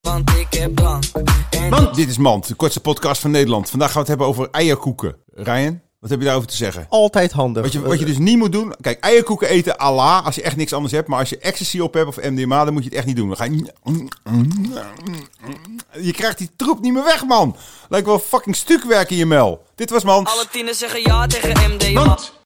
want ik heb blank. En Man, dit is Mand, de kortste podcast van Nederland. Vandaag gaan we het hebben over eierkoeken. Ryan, wat heb je daarover te zeggen? Altijd handig. Wat je, wat je dus niet moet doen, kijk, eierkoeken eten ala als je echt niks anders hebt. Maar als je ecstasy op hebt of MDMA, dan moet je het echt niet doen. Dan ga je... Je krijgt die troep niet meer weg, man. Lijkt wel fucking stukwerk in je mel. Dit was Mand. alle tienen zeggen ja tegen MDMA. Mand.